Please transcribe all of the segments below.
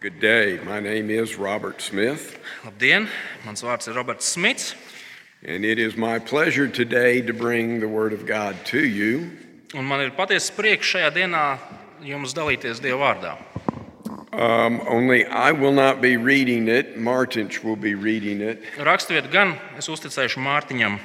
Good day. My name is Robert Smith, Labdien, mans vārds ir Roberts Smits, and it is my pleasure today to bring the Word of God to you. un man ir patiesa prieks šajā dienā jums dalīties Dieva vārdā. Um, only I will not be reading it, Martinch will be reading it, Raksturiet gan es uzticēšu Mārtiņam,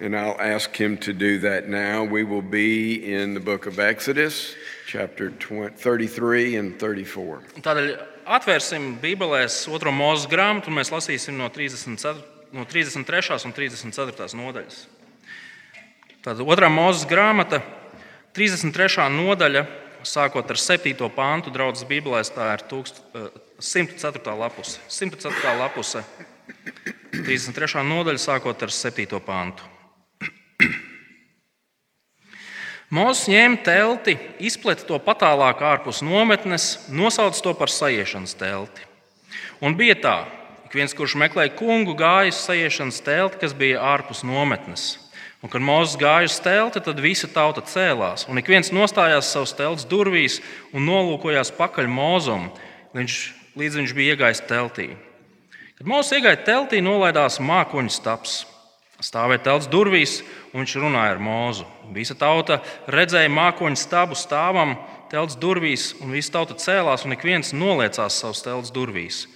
and I'll ask him to do that now. We will be in the book of Exodus, chapter 20, 33 and 34. tādēļ atvērsim Bībelēs otro mūža grāmatu, un mēs lasīsim no 34. No 33. un 34. nodaļas. Tad otrā mūža grāmata, 33. nodaļa, sākot ar 7. pāntu, draugs Bībelēs, tā ir tūkst, eh, 104. lapuse. 104. lapuse 33. nodaļa, sākot ar 7. pāntu. Mūzis ņēma telti, izpleta to patālāk ārpus nometnes, nosauca to par sajiešanas telti. Un bija tā, ka viens, kurš meklēja kungu, gāja uz sajiešanas telti, kas bija ārpus nometnes. Un, kad Mozus gāja uz telti, tad visa tauta cēlās, un ik viens nostājās savas telts durvīs un nolūkojās pakaļ Mozum, līdz, līdz viņš bija iegājis teltī. Kad Mozus iegāja teltī, nolaidās mākoņu stāps. Stāvēja telts durvīs, un viņš runāja ar Mozu. Visa tauta redzēja mākoņu stabu stāvam, telts durvīs, un visa tauta cēlās, un ik viens noliecās savus telts durvīs.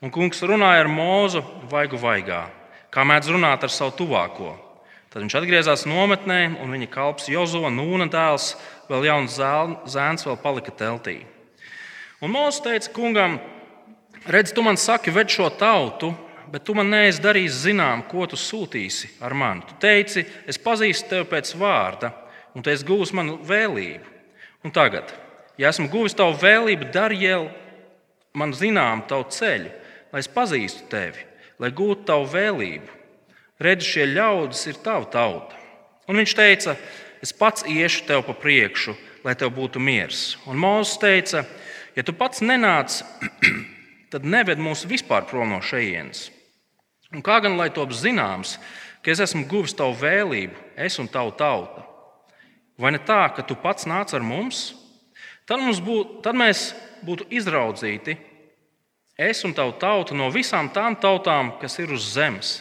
Un kungs runāja ar Mozu vaigu vaigā, kā mēdz runāt ar savu tuvāko. Tad viņš atgriezās nometnē, un viņa kalps Jozo, Nūna dēls, vēl jauns zēl- zēns, vēl palika teltī. Un Mozus teica kungam, Redz, tu man saki, ved šo tautu, bet tu man neesi darījis zinām, ko tu sūtīsi ar mani. Tu teici, es pazīstu tevi pēc vārda, un tu esi guvis manu vēlību. Un tagad, ja esmu guvis tavu vēlību, dari jau man zinām tavu ceļu, lai es pazīstu tevi, lai gūtu tavu vēlību. Redz, šie ļaudis ir tava tauta. Un viņš teica, es pats iešu tev pa priekšu, lai tev būtu miers. Un Mozus teica, ja tu pats nenāc tad neved mūs vispār prom no šejienes. Un kā gan lai top zināms, ka es esmu guvis tavu vēlību, es un tavu tauta? Vai ne tā, ka tu pats nāc ar mums? Tad, mums bū, tad mēs būtu izraudzīti, es un tavu tauta, no visām tām tautām, kas ir uz zemes.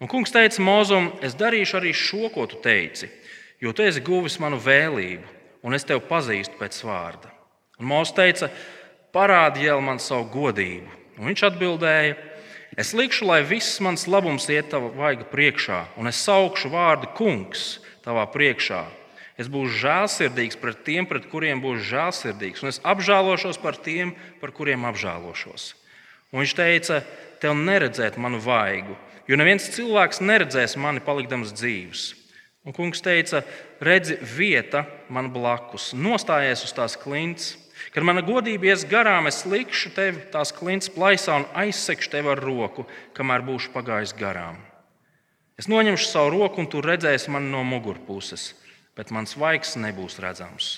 Un kungs teica Mozum, es darīšu arī šo, ko tu teici, jo tu esi guvis manu vēlību, un es tevi pazīstu pēc vārda. Un Mozus teica, parādi jau man savu godību. Un viņš atbildēja, es likšu, lai viss mans labums iet tava vaiga priekšā, un es saukšu vārdu kungs tavā priekšā. Es būšu žēlsirdīgs pret tiem, pret kuriem būšu žēlsirdīgs, un es apžēlošos par tiem, par kuriem apžēlošos. Un viņš teica, tev neredzēt manu vaigu, jo neviens cilvēks neredzēs mani palikdams dzīves. Un kungs teica, redzi, vieta man blakus, nostājies uz tās klints. Kad mana godība ies garām, es likšu tevi tās klints plaisā un aizsekšu tevi ar roku, kamēr būšu pagājis garām. Es noņemšu savu roku, un tu redzēsi mani no mugurpuses, bet mans vaigs nebūs redzams.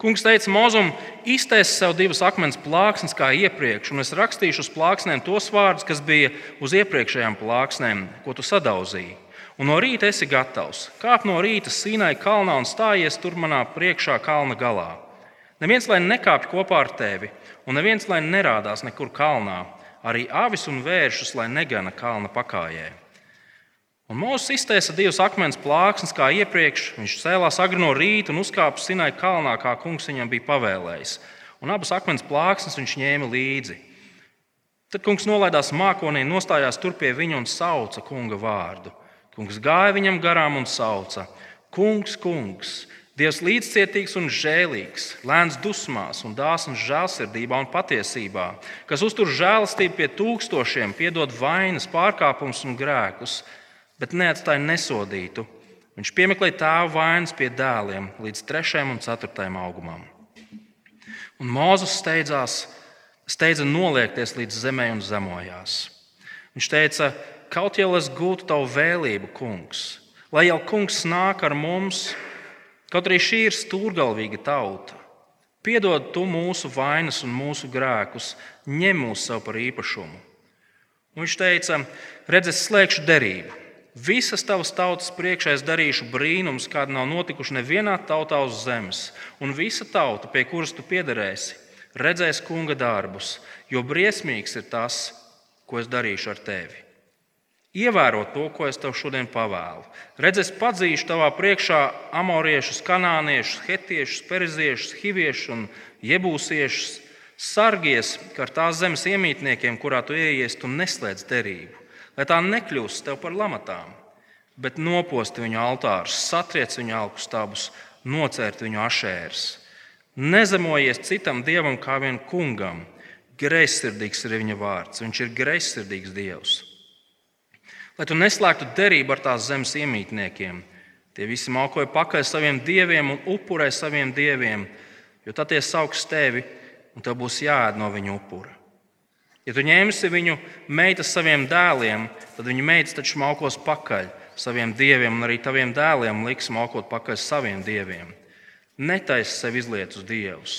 Kungs teica Mozum, iztēs sev divas akmens plāksnes kā iepriekš, un es rakstīšu uz plāksnēm tos vārdus, kas bija uz iepriekšējām plāksnēm, ko tu sadauzīji. Un no rīta esi gatavs. Kāp no rīta Sīnai kalnā un stājies tur manā priekšā kalna galā. Neviens lai nekāpj kopā ar tevi, un neviens lai nerādās nekur kalnā, arī avis un vēršus lai negana kalna pakājai. Un Mozus iztēsa divas akmens plāksnes, kā iepriekš. Viņš cēlās agri no rīta un uzkāpa Sinai kalnā, kā kungs viņam bija pavēlējis. Un abas akmens plāksnes viņš ņēma līdzi. Tad kungs nolaidās mākonī, nostājās tur pie viņa un sauca kunga vārdu. Kungs gāja viņam garām un sauca: Kungs, kungs, Dievs līdzcietīgs un žēlīgs, lēns dusmās un dāsns žēlsirdībā un patiesībā, kas uztur žēlastību pie tūkstošiem, piedod vainas, pārkāpumus un grēkus, bet neatstāja nesodītu. Viņš piemeklēja tēva vainas pie dēliem līdz 3. un 4. augumam. Un Mozus steidzās, steidza noliekties līdz zemē un zemojās. Viņš teica, kaut jau es gūtu tavu vēlību, kungs, lai jau kungs nāk ar mums, kaut arī šī ir stūrgalvīga tauta. Piedod tu mūsu vainas un mūsu grēkus, ņem mūs sev par īpašumu. Un viņš teica, redz, es slēgšu derību. Visas tavas tautas priekšā es darīšu brīnums, kāda nav notikuši nevienā tautā uz zemes, un visa tauta, pie kuras tu piederēsi, redzēs kunga darbus, jo briesmīgs ir tas, ko es darīšu ar tevi. Ievēro to, ko es tev šodien pavēlu. Redz, es padzīšu tavā priekšā amoriešus, kanāniešus, hetiešus, periziešus, hiviešus un iebūsiešus. Sargies, ka ar tās zemes iemītniekiem, kurā tu ieies, tu neslēdz derību, lai tā nekļūst tev par lamatām, bet noposti viņu altārus, satriec viņu alku stabus, nocērt viņu ašērs. Nezemojies citam dievam kā vien kungam. Greizsirdīgs ir viņa vārds, viņš ir greizsirdīgs dievs lai tu neslēgtu derību ar tās zemes iemītniekiem. Tie visi mākoja pakaļ saviem dieviem un upurē saviem dieviem, jo tad tie sauks tevi un tev būs jāēd no viņu upura. Ja tu ņemsi viņu meitas saviem dēliem, tad viņu meitas taču mākos pakaļ saviem dieviem un arī taviem dēliem liks mākot pakaļ saviem dieviem. Netaisi sev izlietus dievus.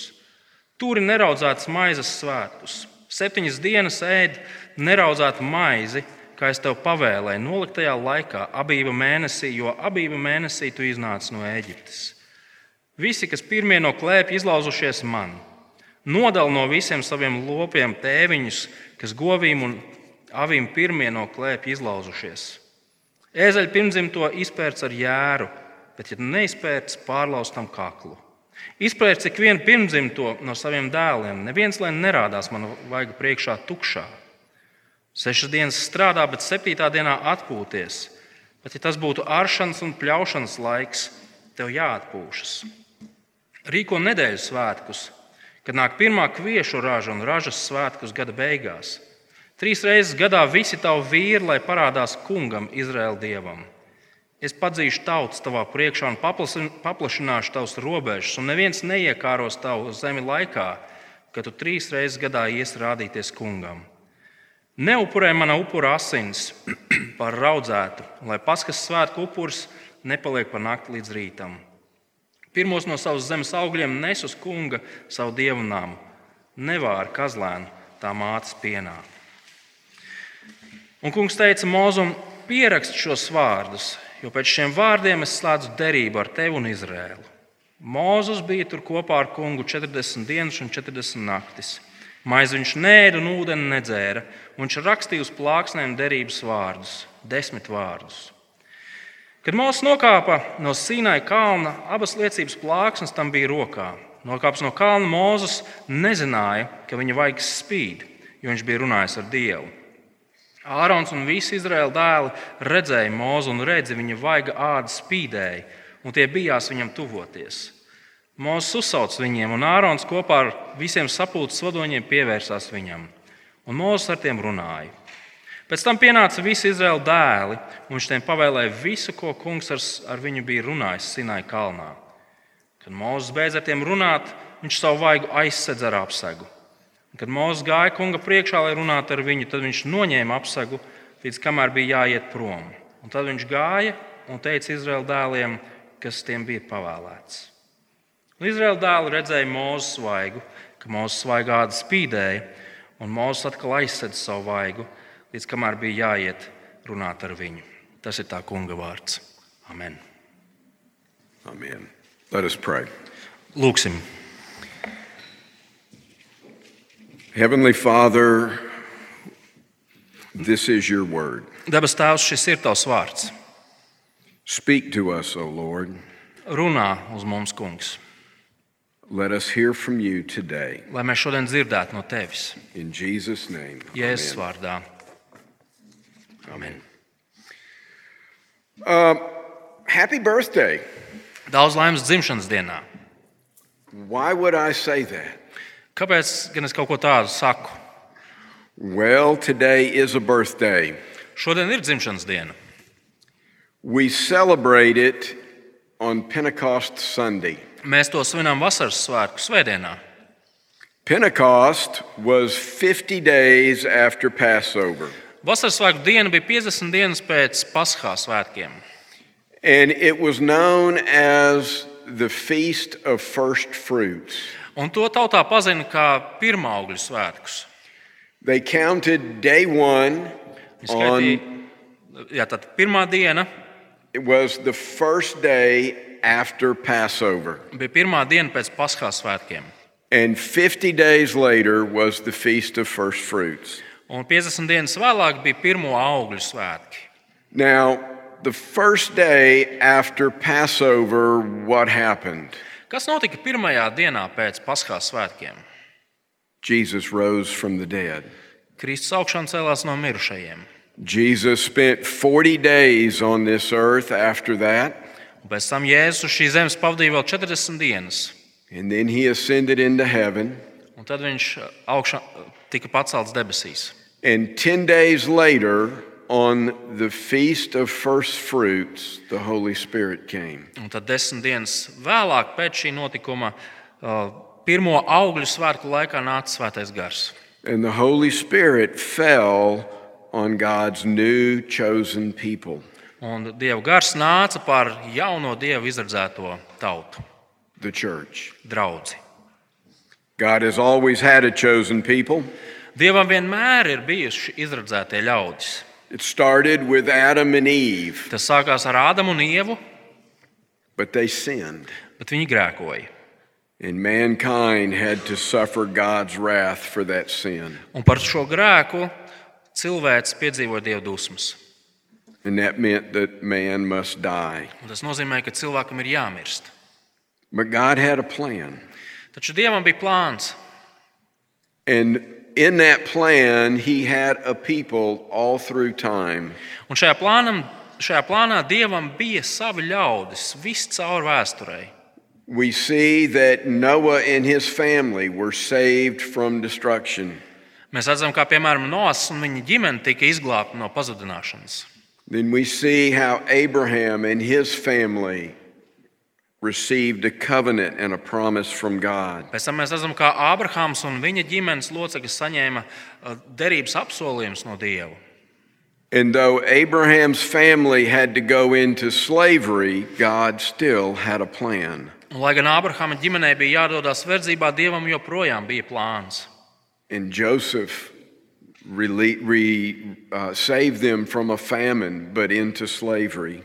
Turi neraudzētas maizes svētkus. Septiņas dienas ēd neraudzētu maizi, kā es tev pavēlēju, nolikt tajā laikā, abība mēnesī, jo abība mēnesī tu iznāci no Ēģiptes. Visi, kas pirmie no klēpja izlauzušies man, nodala no visiem saviem lopiem tēviņus, kas govīm un avīm pirmie no klēpja izlauzušies. Ēzeļa pirmzimto izpērts ar jēru, bet, ja neizpērts, pārlaustam kaklu. Izpērts ik vienu pirmzimto no saviem dēliem, neviens lai nerādās man vaigu priekšā tukšā. Sešas dienas strādā, bet septītā dienā atpūties. Bet, ja tas būtu āršanas un pļaušanas laiks, tev jāatpūšas. Rīko nedēļas svētkus, kad nāk pirmā kviešu raža un ražas svētkus gada beigās. Trīs reizes gadā visi tavi vīri, lai parādās kungam, Izraēla dievam. Es padzīšu tautas tavā priekšā un paplašināšu tavus robežas, un neviens neiekāros tavu zemi laikā, kad tu trīs reizes gadā ies rādīties kungam. Neupurē mana upura asins par raudzētu, lai paskas svētku upurs nepaliek par nakti līdz rītam. Pirmos no savas zemes augļiem nes uz kunga savu dievnām, nevāra kazlēnu tā mātes pienā. Un kungs teica Mozum, pierakst šos vārdus, jo pēc šiem vārdiem es slēdzu derību ar tevi un Izrēlu. Mozus bija tur kopā ar kungu 40 dienas un 40 naktis. Maizi viņš nēda un ūdeni nedzēra. Viņš rakstīja uz plāksnēm derības vārdus, desmit vārdus. Kad Mozus nokāpa no Sīnai kalna, abas liecības plāksnes tam bija rokā. Nokāpis no kalna Mozus nezināja, ka viņa vaigs spīd, jo viņš bija runājis ar Dievu. Ārons un visi Izraēla dēli redzēja Mozu un redzi viņa vaiga āda spīdēja, un tie bijās viņam tuvoties. Mozus uzsauc viņiem, un Ārons kopā ar visiem sapulces vadoņiem pievērsās viņam. Un Mozus ar tiem runāja. Pēc tam pienāca visi Izraēla dēli, un viņš tiem pavēlēja visu, ko kungs ar, ar viņu bija runājis Sinai kalnā. Kad Mozus beidz ar tiem runāt, viņš savu vaigu aizsedz ar apsegu. Un, kad Mozus gāja kunga priekšā, lai runātu ar viņu, tad viņš noņēma apsegu, līdz kamēr bija jāiet prom. Un tad viņš gāja un teica Izraēla dēliem, kas tiem bija pavēlēts. Un Nu, Izraēla dēli redzēja mūža svaigu, ka mūža svaigā gada spīdēja, un mūža atkal aizsēdz savu vaigu, līdz kamēr bija jāiet runāt ar viņu. Tas ir tā kunga vārds. Amen. Amen. Let us pray. Lūksim. Heavenly Father, this is your word. Dabas Tēvs, šis ir tavs vārds. Speak to us, O Lord. Runā uz mums, kungs, Let us hear from you today. lai mēs šodien dzirdētu no tevis. In Jesus' name. Jēzus amen. vārdā. Amen. Uh, happy birthday. Daudz laimes dzimšanas dienā. Why would I say that? Kāpēc gan es kaut ko tādu saku? Well, today is a birthday. Šodien ir dzimšanas diena. We celebrate it on Pentecost Sunday. Mēs to svinām vasaras svētku svētdienā. Pentecost was 50 days after Passover, Vasaras svētku diena bija 50 dienas pēc Paskā svētkiem. and it was known as the Feast of First Fruits. Un to tautā pazina kā pirmā augļu svētkus. They counted day one Viņi on skaitīja- Jā, tad pirmā diena It was the first day after Passover. bija pirmā diena pēc Paskā svētkiem. And 50 days later was the Feast of First Fruits. Un 50 dienas vēlāk bija pirmo augļu svētki. Now, the first day after Passover, what happened? Kas notika pirmajā dienā pēc Paskās svētkiem? Jesus rose from the dead. Kristus augšām celās no mirušajiem. Jesus spent 40 days on this earth after that, Un pēc tam Jēzus uz šīs zemes pavadīja vēl 40 dienas. and then he ascended into heaven. Un tad viņš augšā, tika pacelts debesīs. And 10 days later, on the Feast of First Fruits, the Holy Spirit came. Un tad desmit dienas vēlāk, pēc šī notikuma, uh, pirmo augļu svētku laikā nāca svētais gars. And the Holy Spirit fell on God's new chosen people. Un Dieva gars nāca par jauno Dievu izredzēto tautu, the church. draugu. God has always had a chosen people. Dievam vienmēr ir bijuši izredzētie ļaudis. It started with Adam and Eve, Tas sākās ar Ādamu un Ievu, but they sinned, bet viņi grēkoja. and mankind had to suffer God's wrath for that sin. Un par šo grēku cilvēks piedzīvoja dievu dusmas. And that meant that man must die. Un tas nozīmē, ka cilvēkam ir jāmirst. But God had a plan. Taču dievam bija plāns, And in that plan, he had a people all through time. un šajā, plānam, šajā plānā dievam bija savi ļaudis viscaur vēsturei. We see that Noah and his family were saved from destruction. Mēs redzam, kā piemēram Noāns un viņa ģimene tika izglābti no pazudināšanas. Then we see how Abraham and his family received a covenant and a promise from God. Pēc tam mēs redzam, kā Ābrahāms un viņa ģimenes locekļi saņēma uh, derības apsolījumus no dieva. And though Abraham's family had to go into slavery, God still had a plan. Un, lai gan Ābrahāma ģimenei bija jādodas verdzībā, dievam joprojām bija plāns. And Joseph rele- re- uh, saved them from a famine, but into slavery.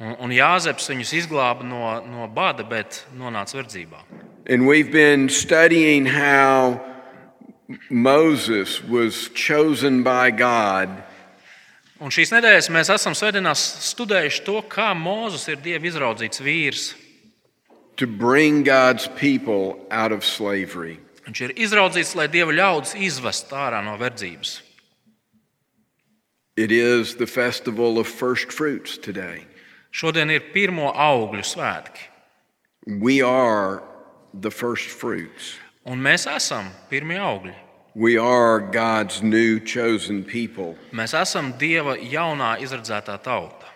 Un, un Jāzeps viņus izglāba no, no bada, bet nonāca verdzībā. And we've been studying how Moses was chosen by God. Un šīs nedēļas mēs esam svētdienās studējuši to, kā Mozus ir dieva izraudzīts vīrs. to bring God's people out of slavery. Viņš ir izraudzīts, lai dieva ļaudis izvest ārā no verdzības. It is the festival of first fruits today. Šodien ir pirmo augļu svētki, We are the first fruits. un mēs esam pirmie augļi. We are God's new chosen people. Mēs esam dieva jaunā izredzētā tauta.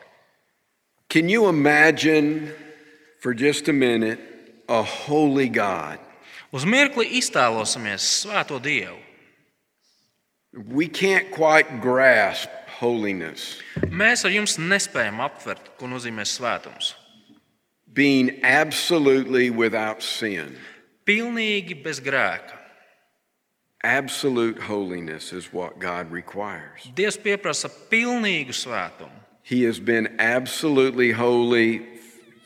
Can you imagine for just a minute a holy God? Uz mirkli iztēlosimies svēto dievu. We can't quite grasp holiness, Mēs ar jums nespējam aptvert, ko nozīmē svētums. being absolutely without sin. Pilnīgi bez grēka. Absolute holiness is what God requires. Dievs pieprasa pilnīgu svētumu. He has been absolutely holy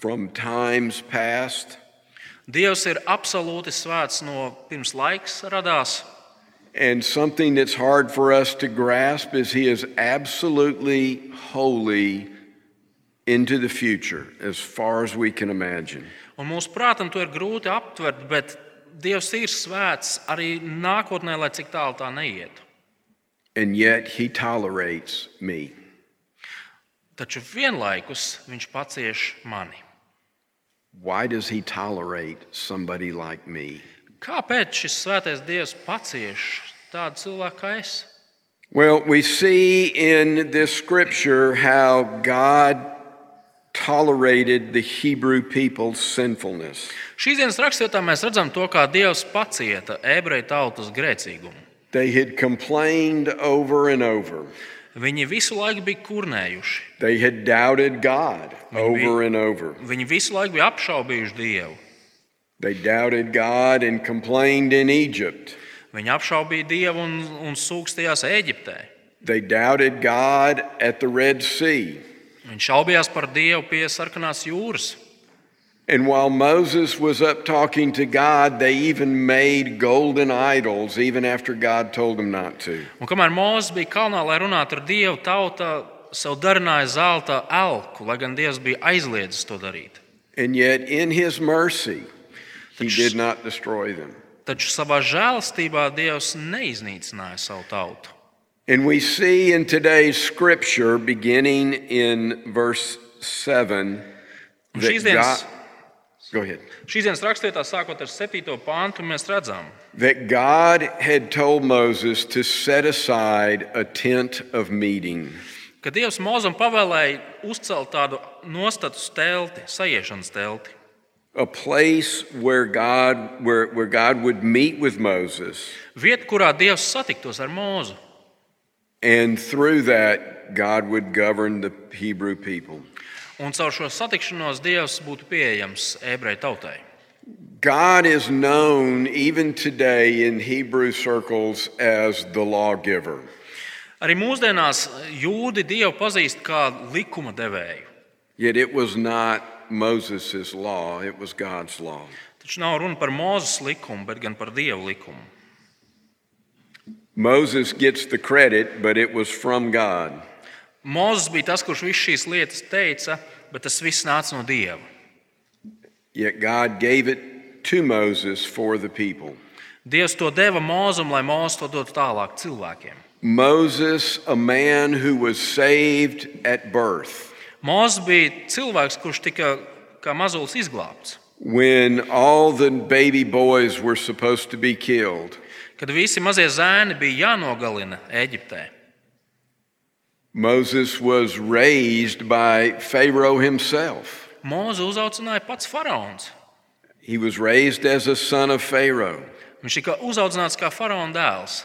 from times past, Dievs ir absolūti svēts no pirms laiks radās, and something that's hard for us to grasp is He is absolutely holy into the future, as far as we can imagine. un mūsu prātam to ir grūti aptvert, bet Dievs ir svēts arī nākotnē, lai cik tālu tā neietu. And yet He tolerates me. Taču vienlaikus Viņš pacieš mani. Why does He tolerate somebody like me? Kāpēc šis svētais Dievs pacieš tādu cilvēku kā es? Well, we see in this scripture how God tolerated the Hebrew people's sinfulness. Šīs dienas rakstvietā mēs redzam to, kā Dievs pacieta ebreju tautas grēcīgumu. They had complained over and over. Viņi visu laiku bija kurnējuši, They had doubted God over and over. viņi visu laiku bija apšaubījuši Dievu. They doubted God and complained in Egypt. Viņi apšaubīja Dievu un, un sūkstījās Eģiptē. They doubted God at the Red Sea. Viņi šaubījās par Dievu pie sarkanās jūras. And while Moses was up talking to God, they even made golden idols, even after God told them not to. Un kamēr Mozus bija kalnā, lai runātu ar Dievu, tauta sev darināja zelta elku, lai gan Dievs bija aizliedzis to darīt. And yet, in his mercy, he That's- did not destroy them. Taču savā žēlastībā Dievs neiznīcināja savu tautu. And we see in today's scripture, beginning in verse 7, Un that šīs dienas, God- go ahead. šīs dienas rakstvietā, sākot ar 7. pāntu, mēs redzam, That God had told Moses to set aside a tent of meeting. ka Dievs Mozam pavēlēja uzcelt tādu nostatu telti, sajiešanas telti. a place where God where, where God would meet with Moses Vieta, kurā Dievs satiktos ar Mozu, and through that God would govern the Hebrew people. un caur šo satikšanos Dievs būtu pieejams ebreju tautai. God is known even today in Hebrew circles as the lawgiver. Arī mūsdienās eh, jūdi Dievu pazīst kā likuma devēju. Yet it was not Moses' law, it was God's law. Taču nav runa par Mozus likumu, bet gan par Dieva likumu. Moses gets the credit, but it was from God. Mozus bija tas, kurš visas šīs lietas teica, bet tas viss nāca no Dieva. Yet God gave it to Moses for the people. Dievs to deva Mozum, lai Mozus to dotu tālāk cilvēkiem. Moses, a man who was saved at birth. Mozus bija cilvēks, kurš tika kā mazulis izglābts. When all the baby boys were supposed to be killed, Kad visi mazie zēni bija jānogalina Eģiptē, Moses was raised by Pharaoh himself. Mozu uzaicināja pats faraons. He was raised as a son of Pharaoh. Viņš tika uzaicināts kā faraona dēls.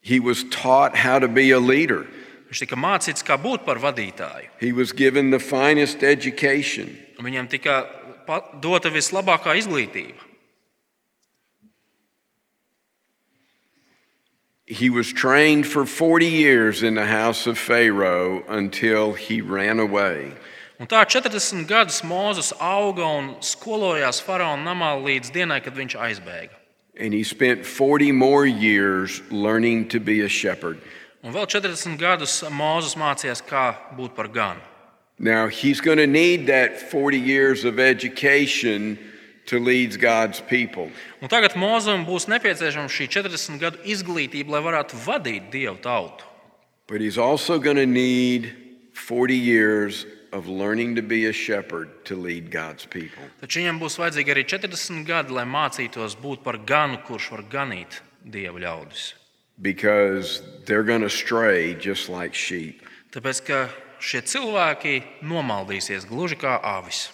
He was taught how to be a leader. Viņš tika mācīts, kā būt par vadītāju. He was given the finest education. Viņam tika pa- dota vislabākā izglītība. He was trained for 40 years in the house of Pharaoh until he ran away. Un tā 40 gadus Mozus auga un skolojās faraona namā līdz dienai, kad viņš aizbēga. And he spent 40 more years learning to be a shepherd. Un vēl 40 gadus Mozus mācījās, kā būt par ganu. Now, he's going to need that 40 years of education to lead God's people. Un tagad Mozum būs nepieciešama šī 40 gadu izglītība, lai varētu vadīt dievu tautu. But he's also going to need 40 years of learning to be a shepherd to lead God's people. Taču viņam būs vajadzīgi arī 40 gadi, lai mācītos būt par ganu, kurš var ganīt dievu ļaudis. Because they're going to stray just like sheep. Tāpēc, ka šie cilvēki nomaldīsies gluži kā avis.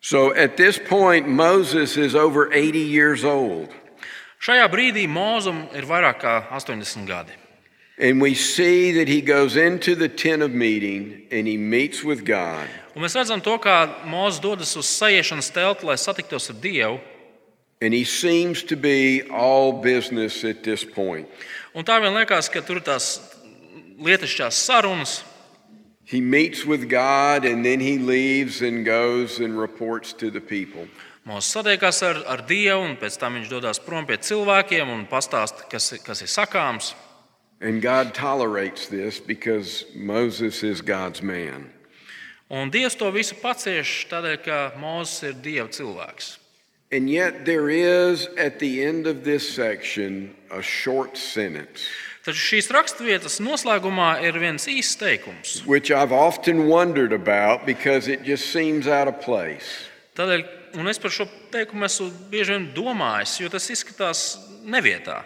So at this point, Moses is over 80 years old. Šajā brīdī Mozum ir vairāk kā 80 gadi. And we see that he goes into the tent of meeting and he meets with God. Un mēs redzam, to, kā Mozus dodas uz sajiešanas telti, lai satiktos ar Dievu. And he seems to be all business at this point. Un tā vien liekas, ka tur ir tās lietišķās sarunas, He meets with God and then he leaves and goes and reports to the people. Mūsu satiekās ar, ar Dievu, un pēc tam viņš dodas prom pie cilvēkiem un pastāsta, kas, kas ir sakāms. And God tolerates this because Moses is God's man. Un Dievs to visu pacieš, tādēļ, ka Mozus ir Dieva cilvēks. And yet, there is at the end of this section a short sentence, Taču šīs raksturvietas noslēgumā ir viens īsts teikums. which I've often wondered about because it just seems out of place. Tādēļ, un es par šo teikumu esmu bieži vien domājis, jo tas izskatās nevietā.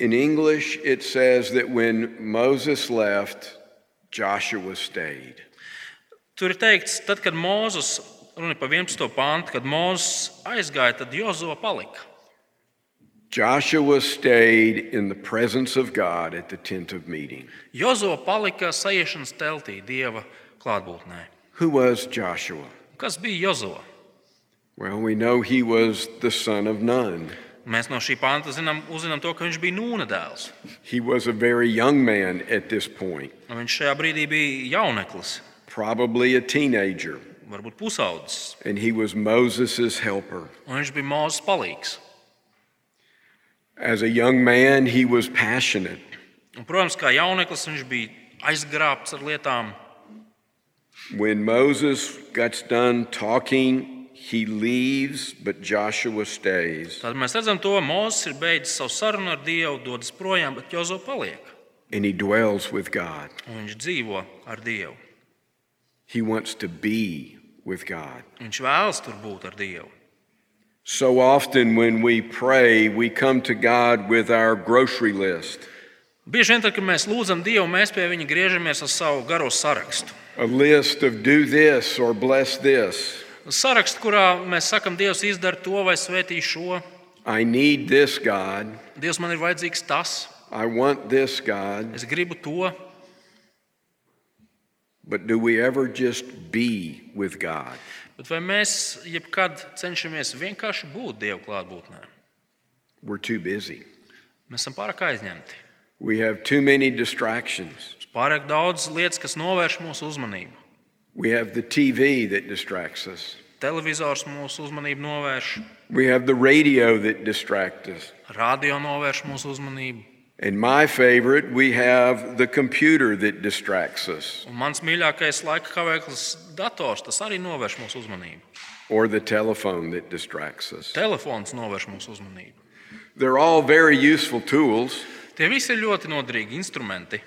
In English, it says that when Moses left, Joshua stayed. Tur ir teikts, tad, kad Mozus, runa ir par 11. pāntu, kad Mozus aizgāja, tad Jozo palika. Joshua stayed in the presence of God at the tent of meeting. Jozo palika sajiešanas teltī Dieva klātbūtnē. Who was Joshua? Kas bija Jozo? Well, we know he was the son of Nun. Mēs no šī panta zinām, uzzinām to, ka viņš bija Nūna dēls. He was a very young man at this point, Un Viņš šajā brīdī bija jauneklis, probably a teenager. varbūt pusaudzis, and he was Moses' helper. un viņš bija mūzes palīgs. As a young man, he was passionate. Un, protams, kā jauneklis, viņš bija aizgrābts ar lietām. When Moses gets done talking, he leaves, but Joshua stays, Tad mēs redzam, ka Mozus ir beidzis savu sarunu ar Dievu, dodas projām, bet Jozo paliek. and he dwells with God. Un viņš dzīvo ar Dievu. He wants to be with God. Viņš vēlas tur būt ar Dievu. So often when we pray, we come to God with our grocery list, Bieži vien, tad, kad mēs lūdzam Dievu, mēs pie viņa griežamies ar savu garo sarakstu. a list of do this or bless this. Sarakstu, kurā mēs sakam, Dievs izdara to vai svētī šo. I need this, God. Dievs man ir vajadzīgs tas, I want this, God. es gribu to. But do we ever just be with God? Bet vai mēs jebkad cenšamies vienkārši būt Dieva klātbūtnē? We're too busy. Mēs esam pārāk aizņemti. We have too many distractions. Mums pārāk daudz lietas, kas novērš mūsu uzmanību. We have the TV that distracts us. Televizors mūsu uzmanību novērš, We have the radio that distracts us. radio novērš mūsu uzmanību. And my favorite, we have the computer that distracts us, Un mans mīļākais laika kavēklis, dators, tas arī novērš mūsu uzmanību. or the telephone that distracts us. Telefons novērš mūsu uzmanību. They're all very useful tools, Tie visi ir ļoti noderīgi instrumenti,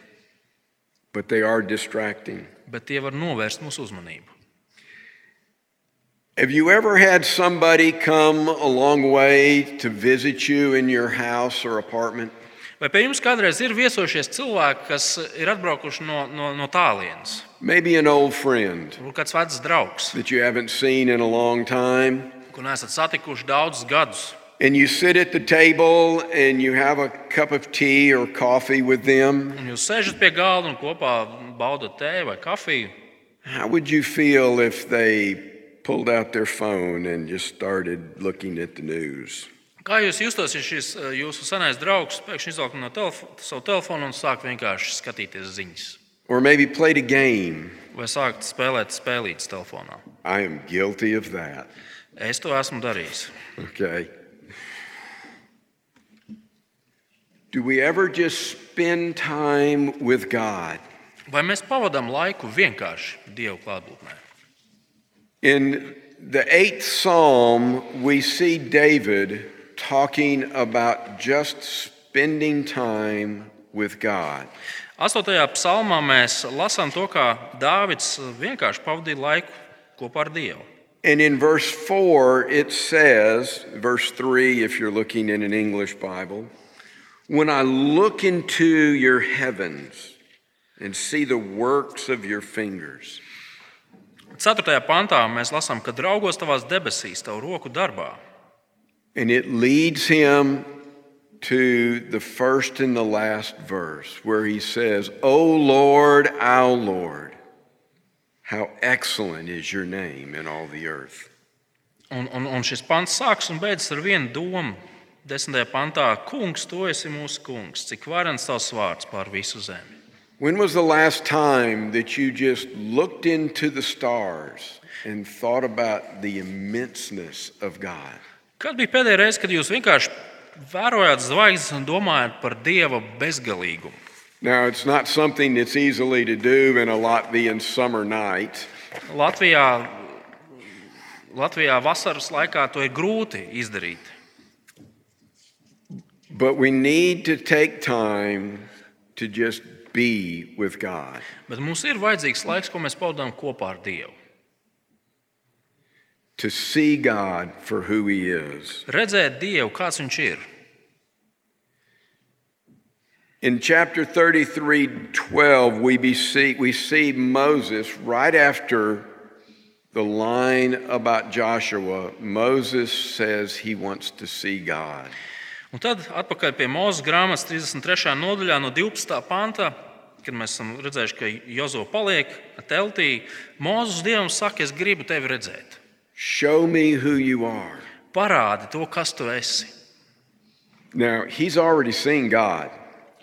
but they are distracting. bet tie var novērst mūsu uzmanību. Have you ever had somebody come a long way to visit you in your house or apartment? Vai pie jums kādreiz ir viesojušies cilvēki, kas ir atbraukuši no, no, no tālienes? Maybe an old friend Varbūt kāds vecs draugs, that you haven't seen in a long time, ko neesat satikuši daudzus gadus. and you sit at the table and you have a cup of tea or coffee with them. Un jūs sēžat pie galda un kopā baudat tēju vai kafiju. How would you feel if they pulled out their phone and just started looking at the news? Kā jūs justos, ja šis eh, jūsu senais draugs pēkšņi izvelk no telef savu telefonu un sāk vienkārši skatīties ziņas? Or maybe played a game. Vai sākt spēlēt spēlītas telefonā? I am guilty of that. Es to esmu darījis. Okay. Do we ever just spend time with God? Vai mēs pavadām laiku vienkārši Dieva klātbūtnē? In the eighth psalm, we see David talking about just spending time with God. Astotajā psalmā mēs lasām to, kā Dāvids vienkārši pavadīja laiku kopā ar Dievu. And in verse 4, it says, verse 3, if you're looking in an English Bible, when I look into your heavens and see the works of your fingers. 4. pantā mēs lasām, ka draugos tavās debesīs, tavu roku darbā. And it leads him to the first and the last verse where he says, O Lord, our Lord, how excellent is your name in all the earth. Un, un, un šis pants sākas un beidzas ar vienu domu. 10. pantā, Kungs, tu esi mūsu kungs, cik varens tavs vārds pār visu zemi. When was the last time that you just looked into the stars and thought about the immenseness of God? Kad bija pēdējā reize, kad jūs vienkārši vērojāt zvaigznes un domājāt par Dieva bezgalīgumu? Now, it's not something that's easily to do in a Latvian summer night. Latvijā, Latvijā vasaras laikā to ir grūti izdarīt. But we need to take time to just be with God. Bet mums ir vajadzīgs laiks, ko mēs pavadām kopā ar Dievu. to see God for who He is. Redzēt Dievu, kāds Viņš ir. In chapter 33 12, we, be see, we see Moses right after the line about Joshua. Moses says he wants to see God. Un tad atpakaļ pie Mozus grāmatas 33. nodaļā, no 12. panta, kad mēs esam redzējuši, ka Jozo paliek teltī. Mozus Dievam saka, es gribu tevi redzēt. Show me who you are. Parādi to, kas tu esi. Now, he's already seen God.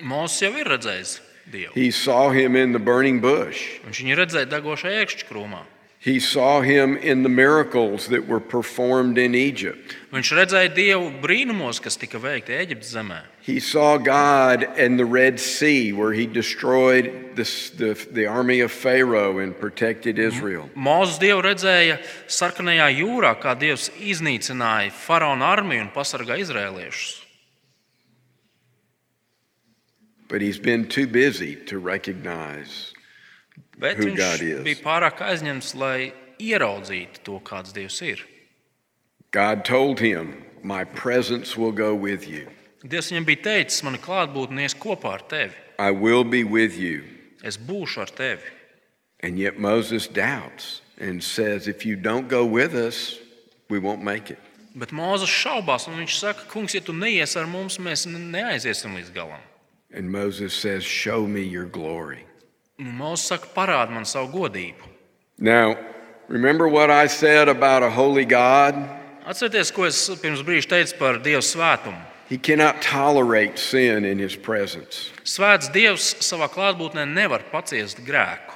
Mozus jau ir redzējis Dievu. He saw him in the burning bush. Viņš viņu redzēja degošajā iekšķkrūmā. He saw him in the miracles that were performed in Egypt. Viņš redzēja dievu brīnumos, kas tika veikti Eģiptes zemē. He saw God and the Red Sea, where he destroyed the, the, the army of Pharaoh and protected Israel. Mozus dievu redzēja sarkanajā jūrā, kā dievs iznīcināja faraona armiju un pasargāja izrēliešus. But he's been too busy to recognize. Bet Who viņš God is. bija pārāk aizņemts, lai ieraudzītu to, kāds dievs ir. God told him, My presence will go with you, Dievs viņam bija teicis, man ir klātbūtne, ies kopā ar tevi. I will be with you. Es būšu ar tevi. And yet Moses doubts and says, If you don't go with us, we won't make it. Bet Mozus šaubās, un viņš saka, kungs, ja tu neies ar mums, mēs ne- neaiziesim līdz galam. And Moses says, Show me your glory. Un Mozus saka, parādi man savu godību. Now, remember what I said about a holy God? Atcerieties, ko es pirms brīža teicu par Dieva svētumu. He cannot tolerate sin in his presence. Svēts Dievs savā klātbūtnē nevar paciest grēku.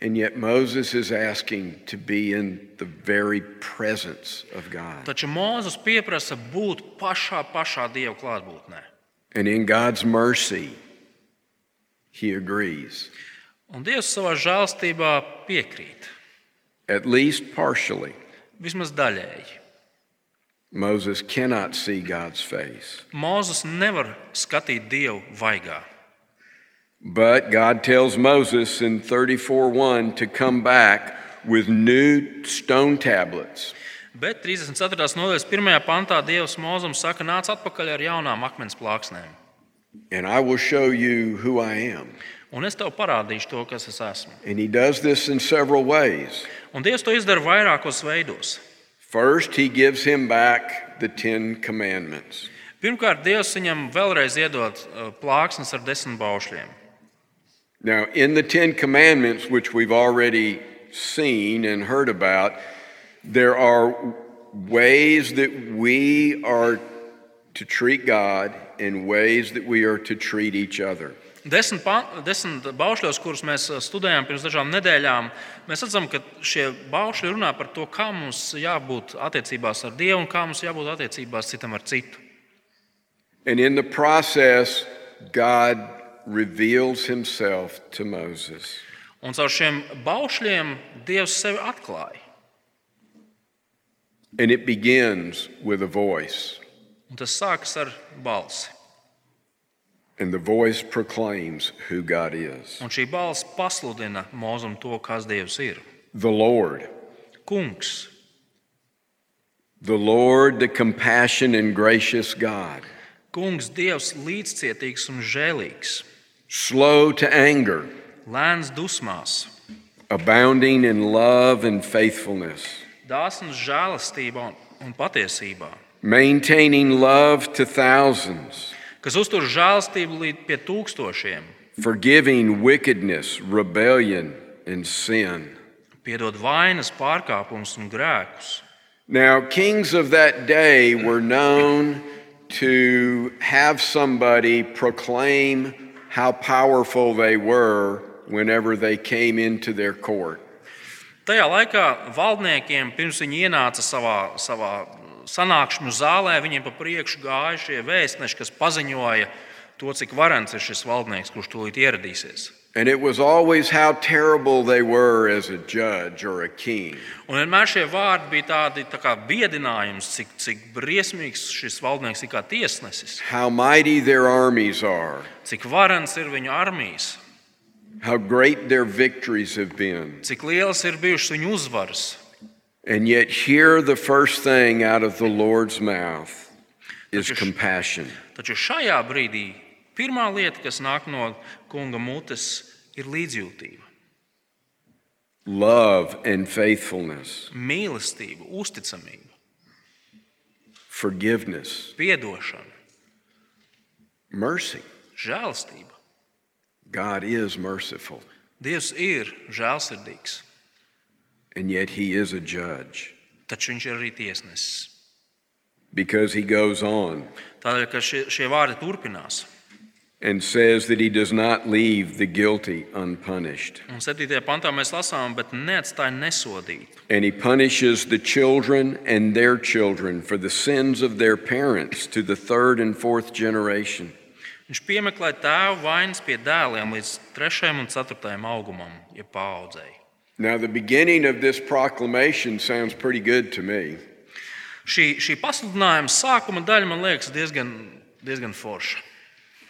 And yet Moses is asking to be in the very presence of God. Taču Mozus pieprasa būt pašā, pašā Dieva klātbūtnē. And in God's mercy, he agrees, Un Dievs savā žēlstībā piekrīt, at least partially. vismaz daļēji. Moses cannot see God's face. Mozus nevar skatīt Dievu vaigā. But God tells Moses in 34:1 to come back with new stone tablets. Bet 34. nodaļas 1. pantā Dievs Mozum saka, nāc atpakaļ ar jaunām akmens plāksnēm, And I will show you who I am. un es tev parādīšu to, kas es esmu. And he does this in several ways. Un Dievs to izdara vairākos veidos. First, he gives him back the 10 commandments. Pirmkārt, Dievs viņam vēlreiz iedod eh, plāksnes ar desmit baušļiem. Now, in the 10 commandments which we've already seen and heard about, there are ways that we are to treat God and ways that we are to treat each other. Desmit, pan- desmit baušļos, kurus mēs eh, studējām pirms dažām nedēļām, mēs redzam, ka šie baušļi runā par to, kā mums jābūt attiecībās ar Dievu un kā mums jābūt attiecībās citam ar citu. And in the process, God reveals himself to Moses. Un caur šiem baušļiem Dievs sevi atklāja. And it begins with a voice, Un tas sākas ar balsi. and the voice proclaims who God is Un šī balss pasludina mūzim to, kas Dievs ir. the Lord, Kungs, the Lord, the compassion and gracious God, kungs Dievs līdzcietīgs un žēlīgs, slow to anger, lēns dusmās, abounding in love and faithfulness, dāsns žēlastībā un- un patiesībā, maintaining love to thousands, kas uztur žēlastību līdz pie tūkstošiem, forgiving wickedness, rebellion, and sin. piedod vainas, pārkāpumus un grēkus. Now, kings of that day were known to have somebody proclaim how powerful they were whenever they came into their court. Tajā laikā valdniekiem, pirms viņi ienāca savā, savā sanākšanu zālē, viņiem pa priekšu gāja šie vēstneši, kas paziņoja to, cik varants ir šis valdnieks, kurš tūlīt ieradīsies. And it was always how terrible they were as a judge or a king. Un vienmēr šie vārdi bija tādi tā kā biedinājums, cik, cik briesmīgs šis valdnieks ir kā tiesnesis, How mighty their armies are, cik varants ir viņu armijas, how great their victories have been. cik liels ir bijušas viņu uzvaras. And yet, here the first thing out of the Lord's mouth is Look at- compassion. Taču šajā brīdī pirmā lieta, kas nāk no kunga mutes, ir līdzjūtība, Love and faithfulness, mīlestība, uzticamība, forgiveness, piedošana, mercy. žēlastība. God is merciful, Dievs ir žēlsirdīgs, and yet He is a judge taču viņš ir arī tiesnesis. because He goes on Tādēļ, ka šie, šie vārdi turpinās. and says that he does not leave the guilty unpunished. Un 7. pantā mēs lasām, bet neatstāja nesodītu. And he punishes the children and their children for the sins of their parents to the third and fourth generation. Viņš piemeklē tēvu vainas pie dēliem līdz 3. un 4. augumam, ja paaudzēji. Now, the beginning of this proclamation sounds pretty good to me. Šī, šī pasludinājuma sākuma daļa man liekas diezgan, diezgan forša.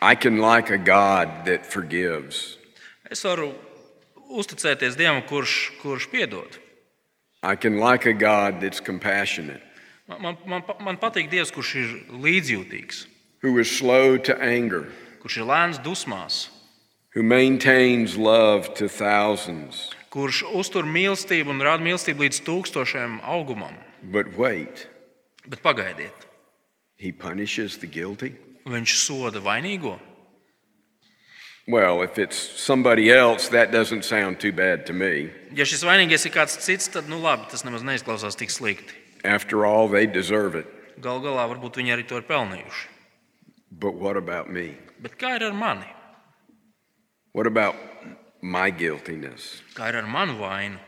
I can like a God that forgives, Es varu uzticēties Dievam, kurš, kurš piedod. I can like a God that's compassionate, Man, man, man, pa- man patīk Dievs, kurš ir līdzjūtīgs, who is slow to anger, kurš ir lēns dusmās, who maintains love to thousands. kurš uztur mīlestību un rāda mīlestību līdz tūkstošiem augumam. But wait, Bet pagaidiet, he punishes the guilty? viņš soda vainīgo. Well, if it's somebody else, that doesn't sound too bad to me. Ja šis vainīgais ir kāds cits, tad nu labi, tas nemaz neizklausās tik slikti. After all, they deserve it. Galu galā varbūt viņi arī to ir pelnījuši. But what about me? Bet kā ir ar mani? What about my guiltiness? Kā ir ar manu vainu?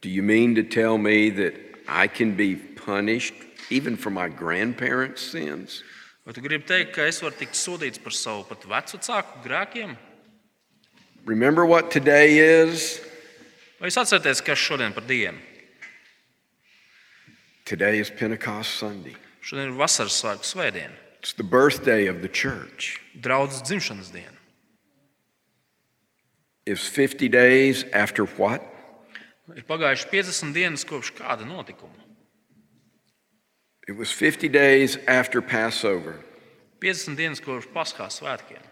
Do you mean to tell me that I can be punished even for my grandparents' sins? Vai tu gribi teikt, ka es varu tikt sodīts par savu pat vecāku grēkiem? Remember what today is? Vai jūs atceraties, kas šodien par dienu? Today is Pentecost Sunday. Šodien ir vasaras svētku svētdiena, It's the birthday of the church. draudzes dzimšanas diena. It's 50 days after what? Ir pagājuši 50 dienas kopš kāda notikuma. It was 50 days after Passover. 50 dienas kopš Paskās svētkiem.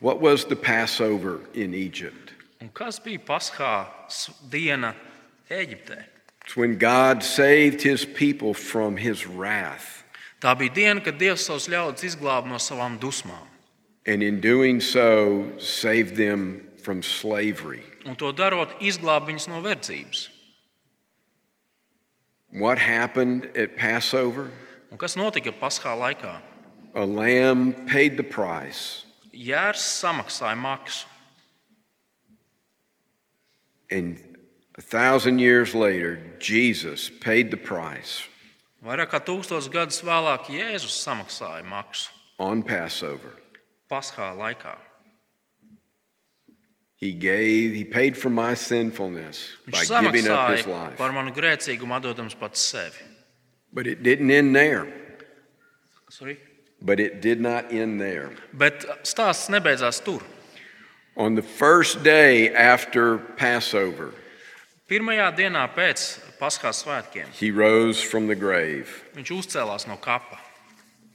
What was the Passover in Egypt? Un kas bija Paskā s- diena Eģiptē? It's when God saved his people from his wrath. Tā bija diena, kad Dievs savus ļaudis izglāba no savām dusmām. And in doing so, saved them from slavery. Un to darot, izglāba viņus no verdzības. What happened at Passover? Un kas notika Paskā laikā? A lamb paid the price, Jērs samaksāja maksu. and a thousand years later, Jesus paid the price Vairāk kā tūkstoš gadus vēlāk Jēzus samaksāja maksu on Passover. Paskā laikā. He gave, he paid for my sinfulness by Viņš giving up his samaksāja life. par manu grēcīgumu, atdodams pats sevi. But it didn't end there. Sorry. But it did not end there. Bet stāsts nebeidzās tur. On the first day after Passover, Pirmajā dienā pēc Paskās svētkiem he rose from the grave viņš uzcēlās no kapa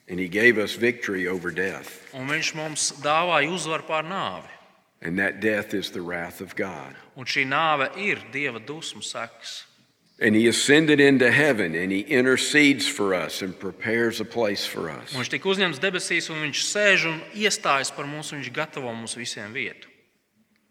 and he gave us victory over death. un viņš mums dāvāja uzvaru pār nāvi. And that death is the wrath of God. Un šī nāve ir dieva dusmu sekas. And he ascended into heaven and he intercedes for us and prepares a place for us. Un viņš tika uzņemts debesīs, un viņš sēž un iestājas par mums, un viņš gatavo mums visiem vietu.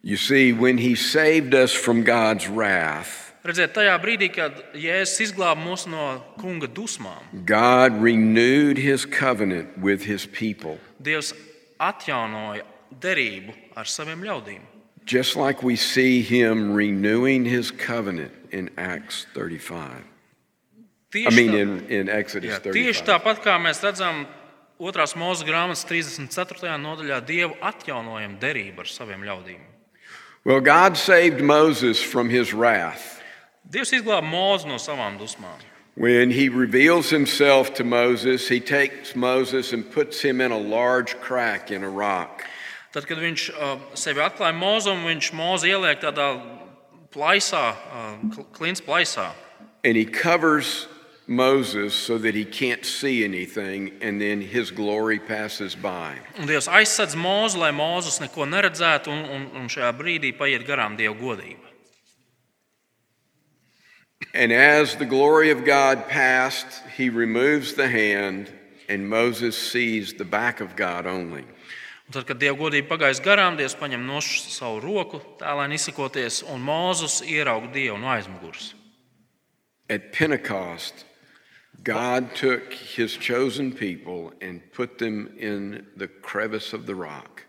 You see, when he saved us from God's wrath, Redziet, tajā brīdī, kad Jēzus izglāba mūs no kunga dusmām, God renewed his covenant with his people, Dievs atjaunoja derību ar saviem ļaudīm. just like we see him renewing his covenant in Acts 35. I mean, tā- in, in Exodus Jā, 35. tieši tāpat kā mēs redzam otrās mūža grāmatas 34. nodaļā, Dievu atjaunojam derību ar saviem ļaudīm. Well, God saved Moses from his wrath Dievs izglāba mūzu no savām dusmām. When he reveals himself to Moses, he takes Moses and puts him in a large crack in a rock. Tad, kad viņš uh, sevi atklāja mūzam, viņš mūzu ieliek tādā plaisā, uh, klints plaisā. And he covers Moses so that he can't see anything, and then his glory passes by. Un Dievs aizsedz mūzu, lai mūzus neko neredzētu, un, un, un šajā brīdī paiet garām Dieva godība. And as the glory of God passed, he removes the hand, and Moses sees the back of God only. Un tad, kad Dieva godība pagājis garām, Dievs paņem no savu roku, tēlēni izsakoties, un mūzus ieraug Dievu no aizmugures. At Pentecost, God took his chosen people and put them in the crevice of the rock.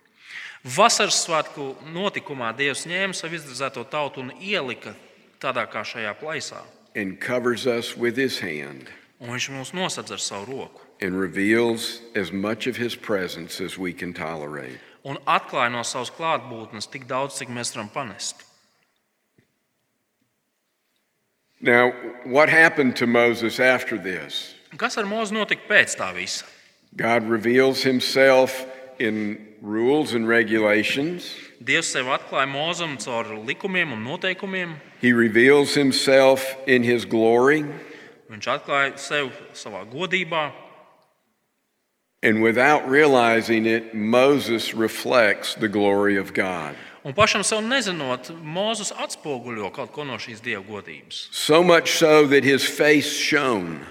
Vasaras svētku notikumā Dievs ņēma savu izdarīto tautu un ielika tādā kā šajā plaisā. and covers us with his hand Un viņš mūs nosedz ar savu roku and reveals as much of his presence as we can tolerate. un atklāja no savas klātbūtnes tik daudz, cik mēs varam panest. Now, what happened to Moses after this? Kas ar mūzu notika pēc tā visa? God reveals himself in rules and regulations. Dievs sev atklāja mūzam caur likumiem un noteikumiem. He reveals himself in his glory. Viņš atklāja sev savā godībā, And without realizing it, Moses reflects the glory of God. un pašam sev nezinot, Mozus atspoguļo kaut ko no šīs dieva godības. So much so that his face shone.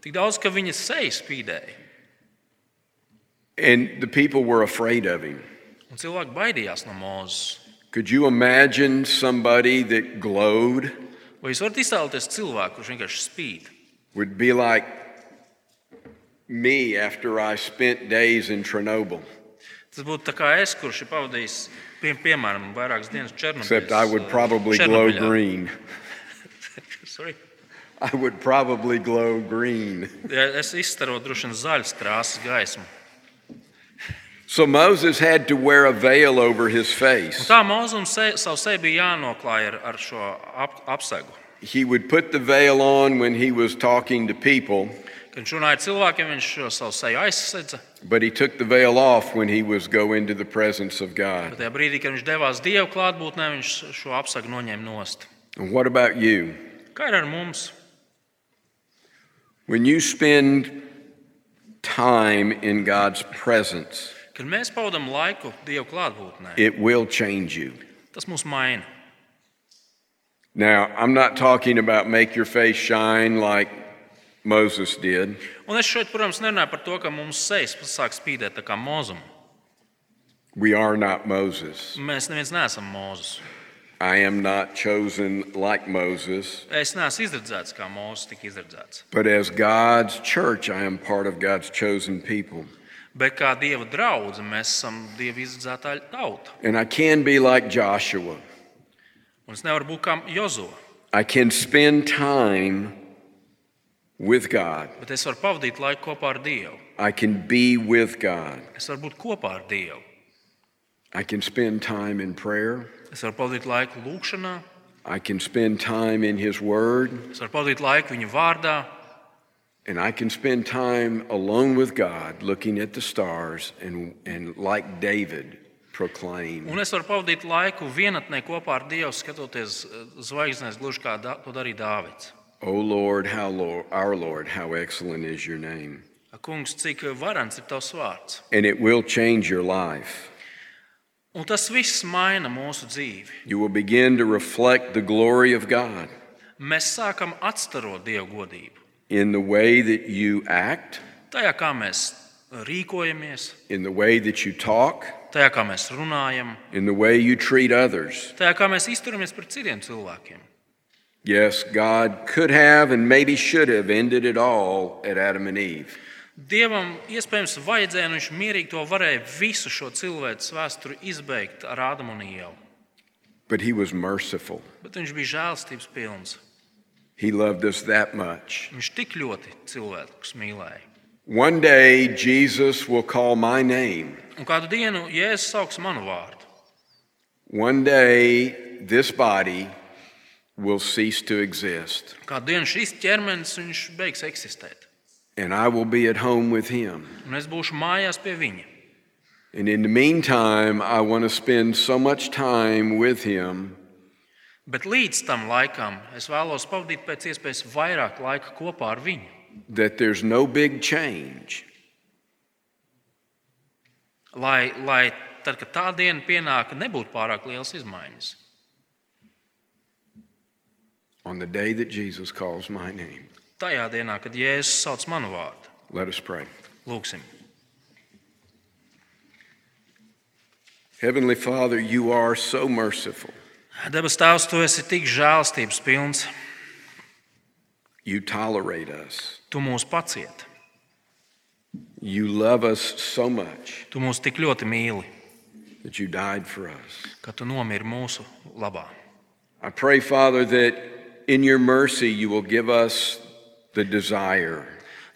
Tik daudz, ka viņa seja spīdēja, And the people were afraid of him. un cilvēki baidījās no Mozus. Could you imagine somebody that glowed? Vai jūs varat iztēloties cilvēku, kurš vienkārši spīd? would be like me after I spent days in Chernobyl, Tas būtu tā kā es, kurš ir pavadījis, pie, piemēram, vairākas dienas uh, Černobiļā. except I would probably glow green. Sorry. I would probably glow green. Ja Es izstaroju droši vien zaļas krāsas gaismu. So Moses had to wear a veil over his Un face. tā mūzika se, savu seju bija jānoklāj ar, ar šo ap, apsegu. He would put the veil on when he was talking to people, Kad viņš runāja ar cilvēkiem, viņš šo savu seju aizsēdza. but he took the veil off when he was go into the presence of Bet God. tajā brīdī, kad viņš devās Dieva klātbūtnē, viņš šo apsegu noņēma nost. And what about you? Kā ir ar mums? When you spend time in God's presence, Kad mēs pavadām laiku Dieva klātbūtnē, it will change you. tas mūs maina. Now, I'm not talking about make your face shine like Moses did, Un es šeit, protams, nerunāju par to, ka mums sejas sāk spīdēt tā kā mūzika. we are not Moses. Mēs neviens neesam mūzis. I am not chosen like Moses, Es neesmu izdarīts kā mūzis, tika izdarīts. but as God's church, I am part of God's chosen people. Bet kā Dieva draudzene, mēs esam Dieva izdarītā tauta. And I can be like Joshua. Un es nevaru būt kā Jozo, I can spend time with God, bet es varu pavadīt laiku kopā ar Dievu. I can be with God, Es varu būt kopā ar Dievu. I can spend time in prayer, Es varu pavadīt laiku lūgšanā, I can spend time in His Word. es varu pavadīt laiku viņa vārdā, And I can spend time alone with God looking at the stars and, and like David, proclaim, un es varu pavadīt laiku vienatnē kopā ar Dievu, skatoties eh, zvaigznēs, gluži kā da, to darīja Dāvids. O Lord, how Lord, our Lord, how excellent is your name. Kungs, cik varants ir tavs vārds? And it will change your life. Un tas viss maina mūsu dzīvi. You will begin to reflect the glory of God Mēs sākam atstarot Dieva godību. in the way that you act, Tajā, kā mēs rīkojamies, in the way that you talk, tajā, kā mēs runājam, in the way you treat others. tajā, kā mēs izturamies pret citiem cilvēkiem. Yes, God could have and maybe should have ended it all at Adam and Eve. Dievam iespējams vajadzēja, un viņš mierīgi to varēja visu šo cilvēku vēsturi izbeigt ar Ādamu un Ievu. But he was merciful. Bet viņš bija žēlstības pilns. He loved us that much. Viņš tik ļoti cilvēkus mīlēja. One day, Jesus will call my name. Un kādu dienu Jēzus sauks manu vārdu. One day, this body will cease to exist, Kādu dienu šis ķermenis viņš beigs eksistēt. and I will be at home with him. Un es būšu mājās pie viņa. And in the meantime, I want to spend so much time with him Bet līdz tam laikam es vēlos pavadīt pēc iespējas vairāk laika kopā ar viņu. that there's no big change. Lai, lai tad, kad tā diena pienāk, nebūtu pārāk liels izmaiņas. On the day that Jesus calls my name, Tajā dienā, kad Jēzus sauc manu vārdu, let us pray. lūgsim. Heavenly Father, you are so merciful. Debes Tēvs, tu esi tik žēlstības pilns. You tolerate us. Tu mūs paciet, You love us so much tu mūs tik ļoti mīli, that you died for us. ka tu nomiri mūsu labā. I pray, Father, that in your mercy you will give us the desire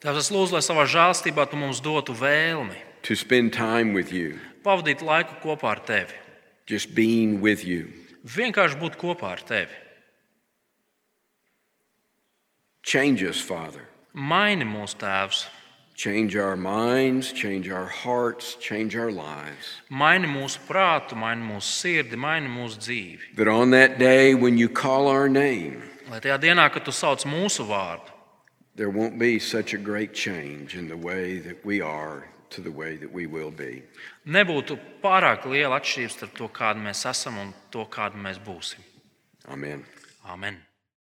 Tāpēc es lūdzu, lai savā žēlstībā tu mums dotu vēlmi to spend time with you, pavadīt laiku kopā ar tevi, just being with you. vienkārši būt kopā ar tevi. Change us, Father. Maini mūsu tēvs, Change our minds, change our hearts, change our lives. maini mūsu prātu, maini mūsu sirdi, maini mūsu dzīvi. That on that day when you call our name, Lai tajā dienā, kad tu sauc mūsu vārdu, there won't be such a great change in the way that we are to the way that we will be. nebūtu pārāk liela atšķirība starp to, kāda mēs esam un to, kāda mēs būsim. Amen. Amen!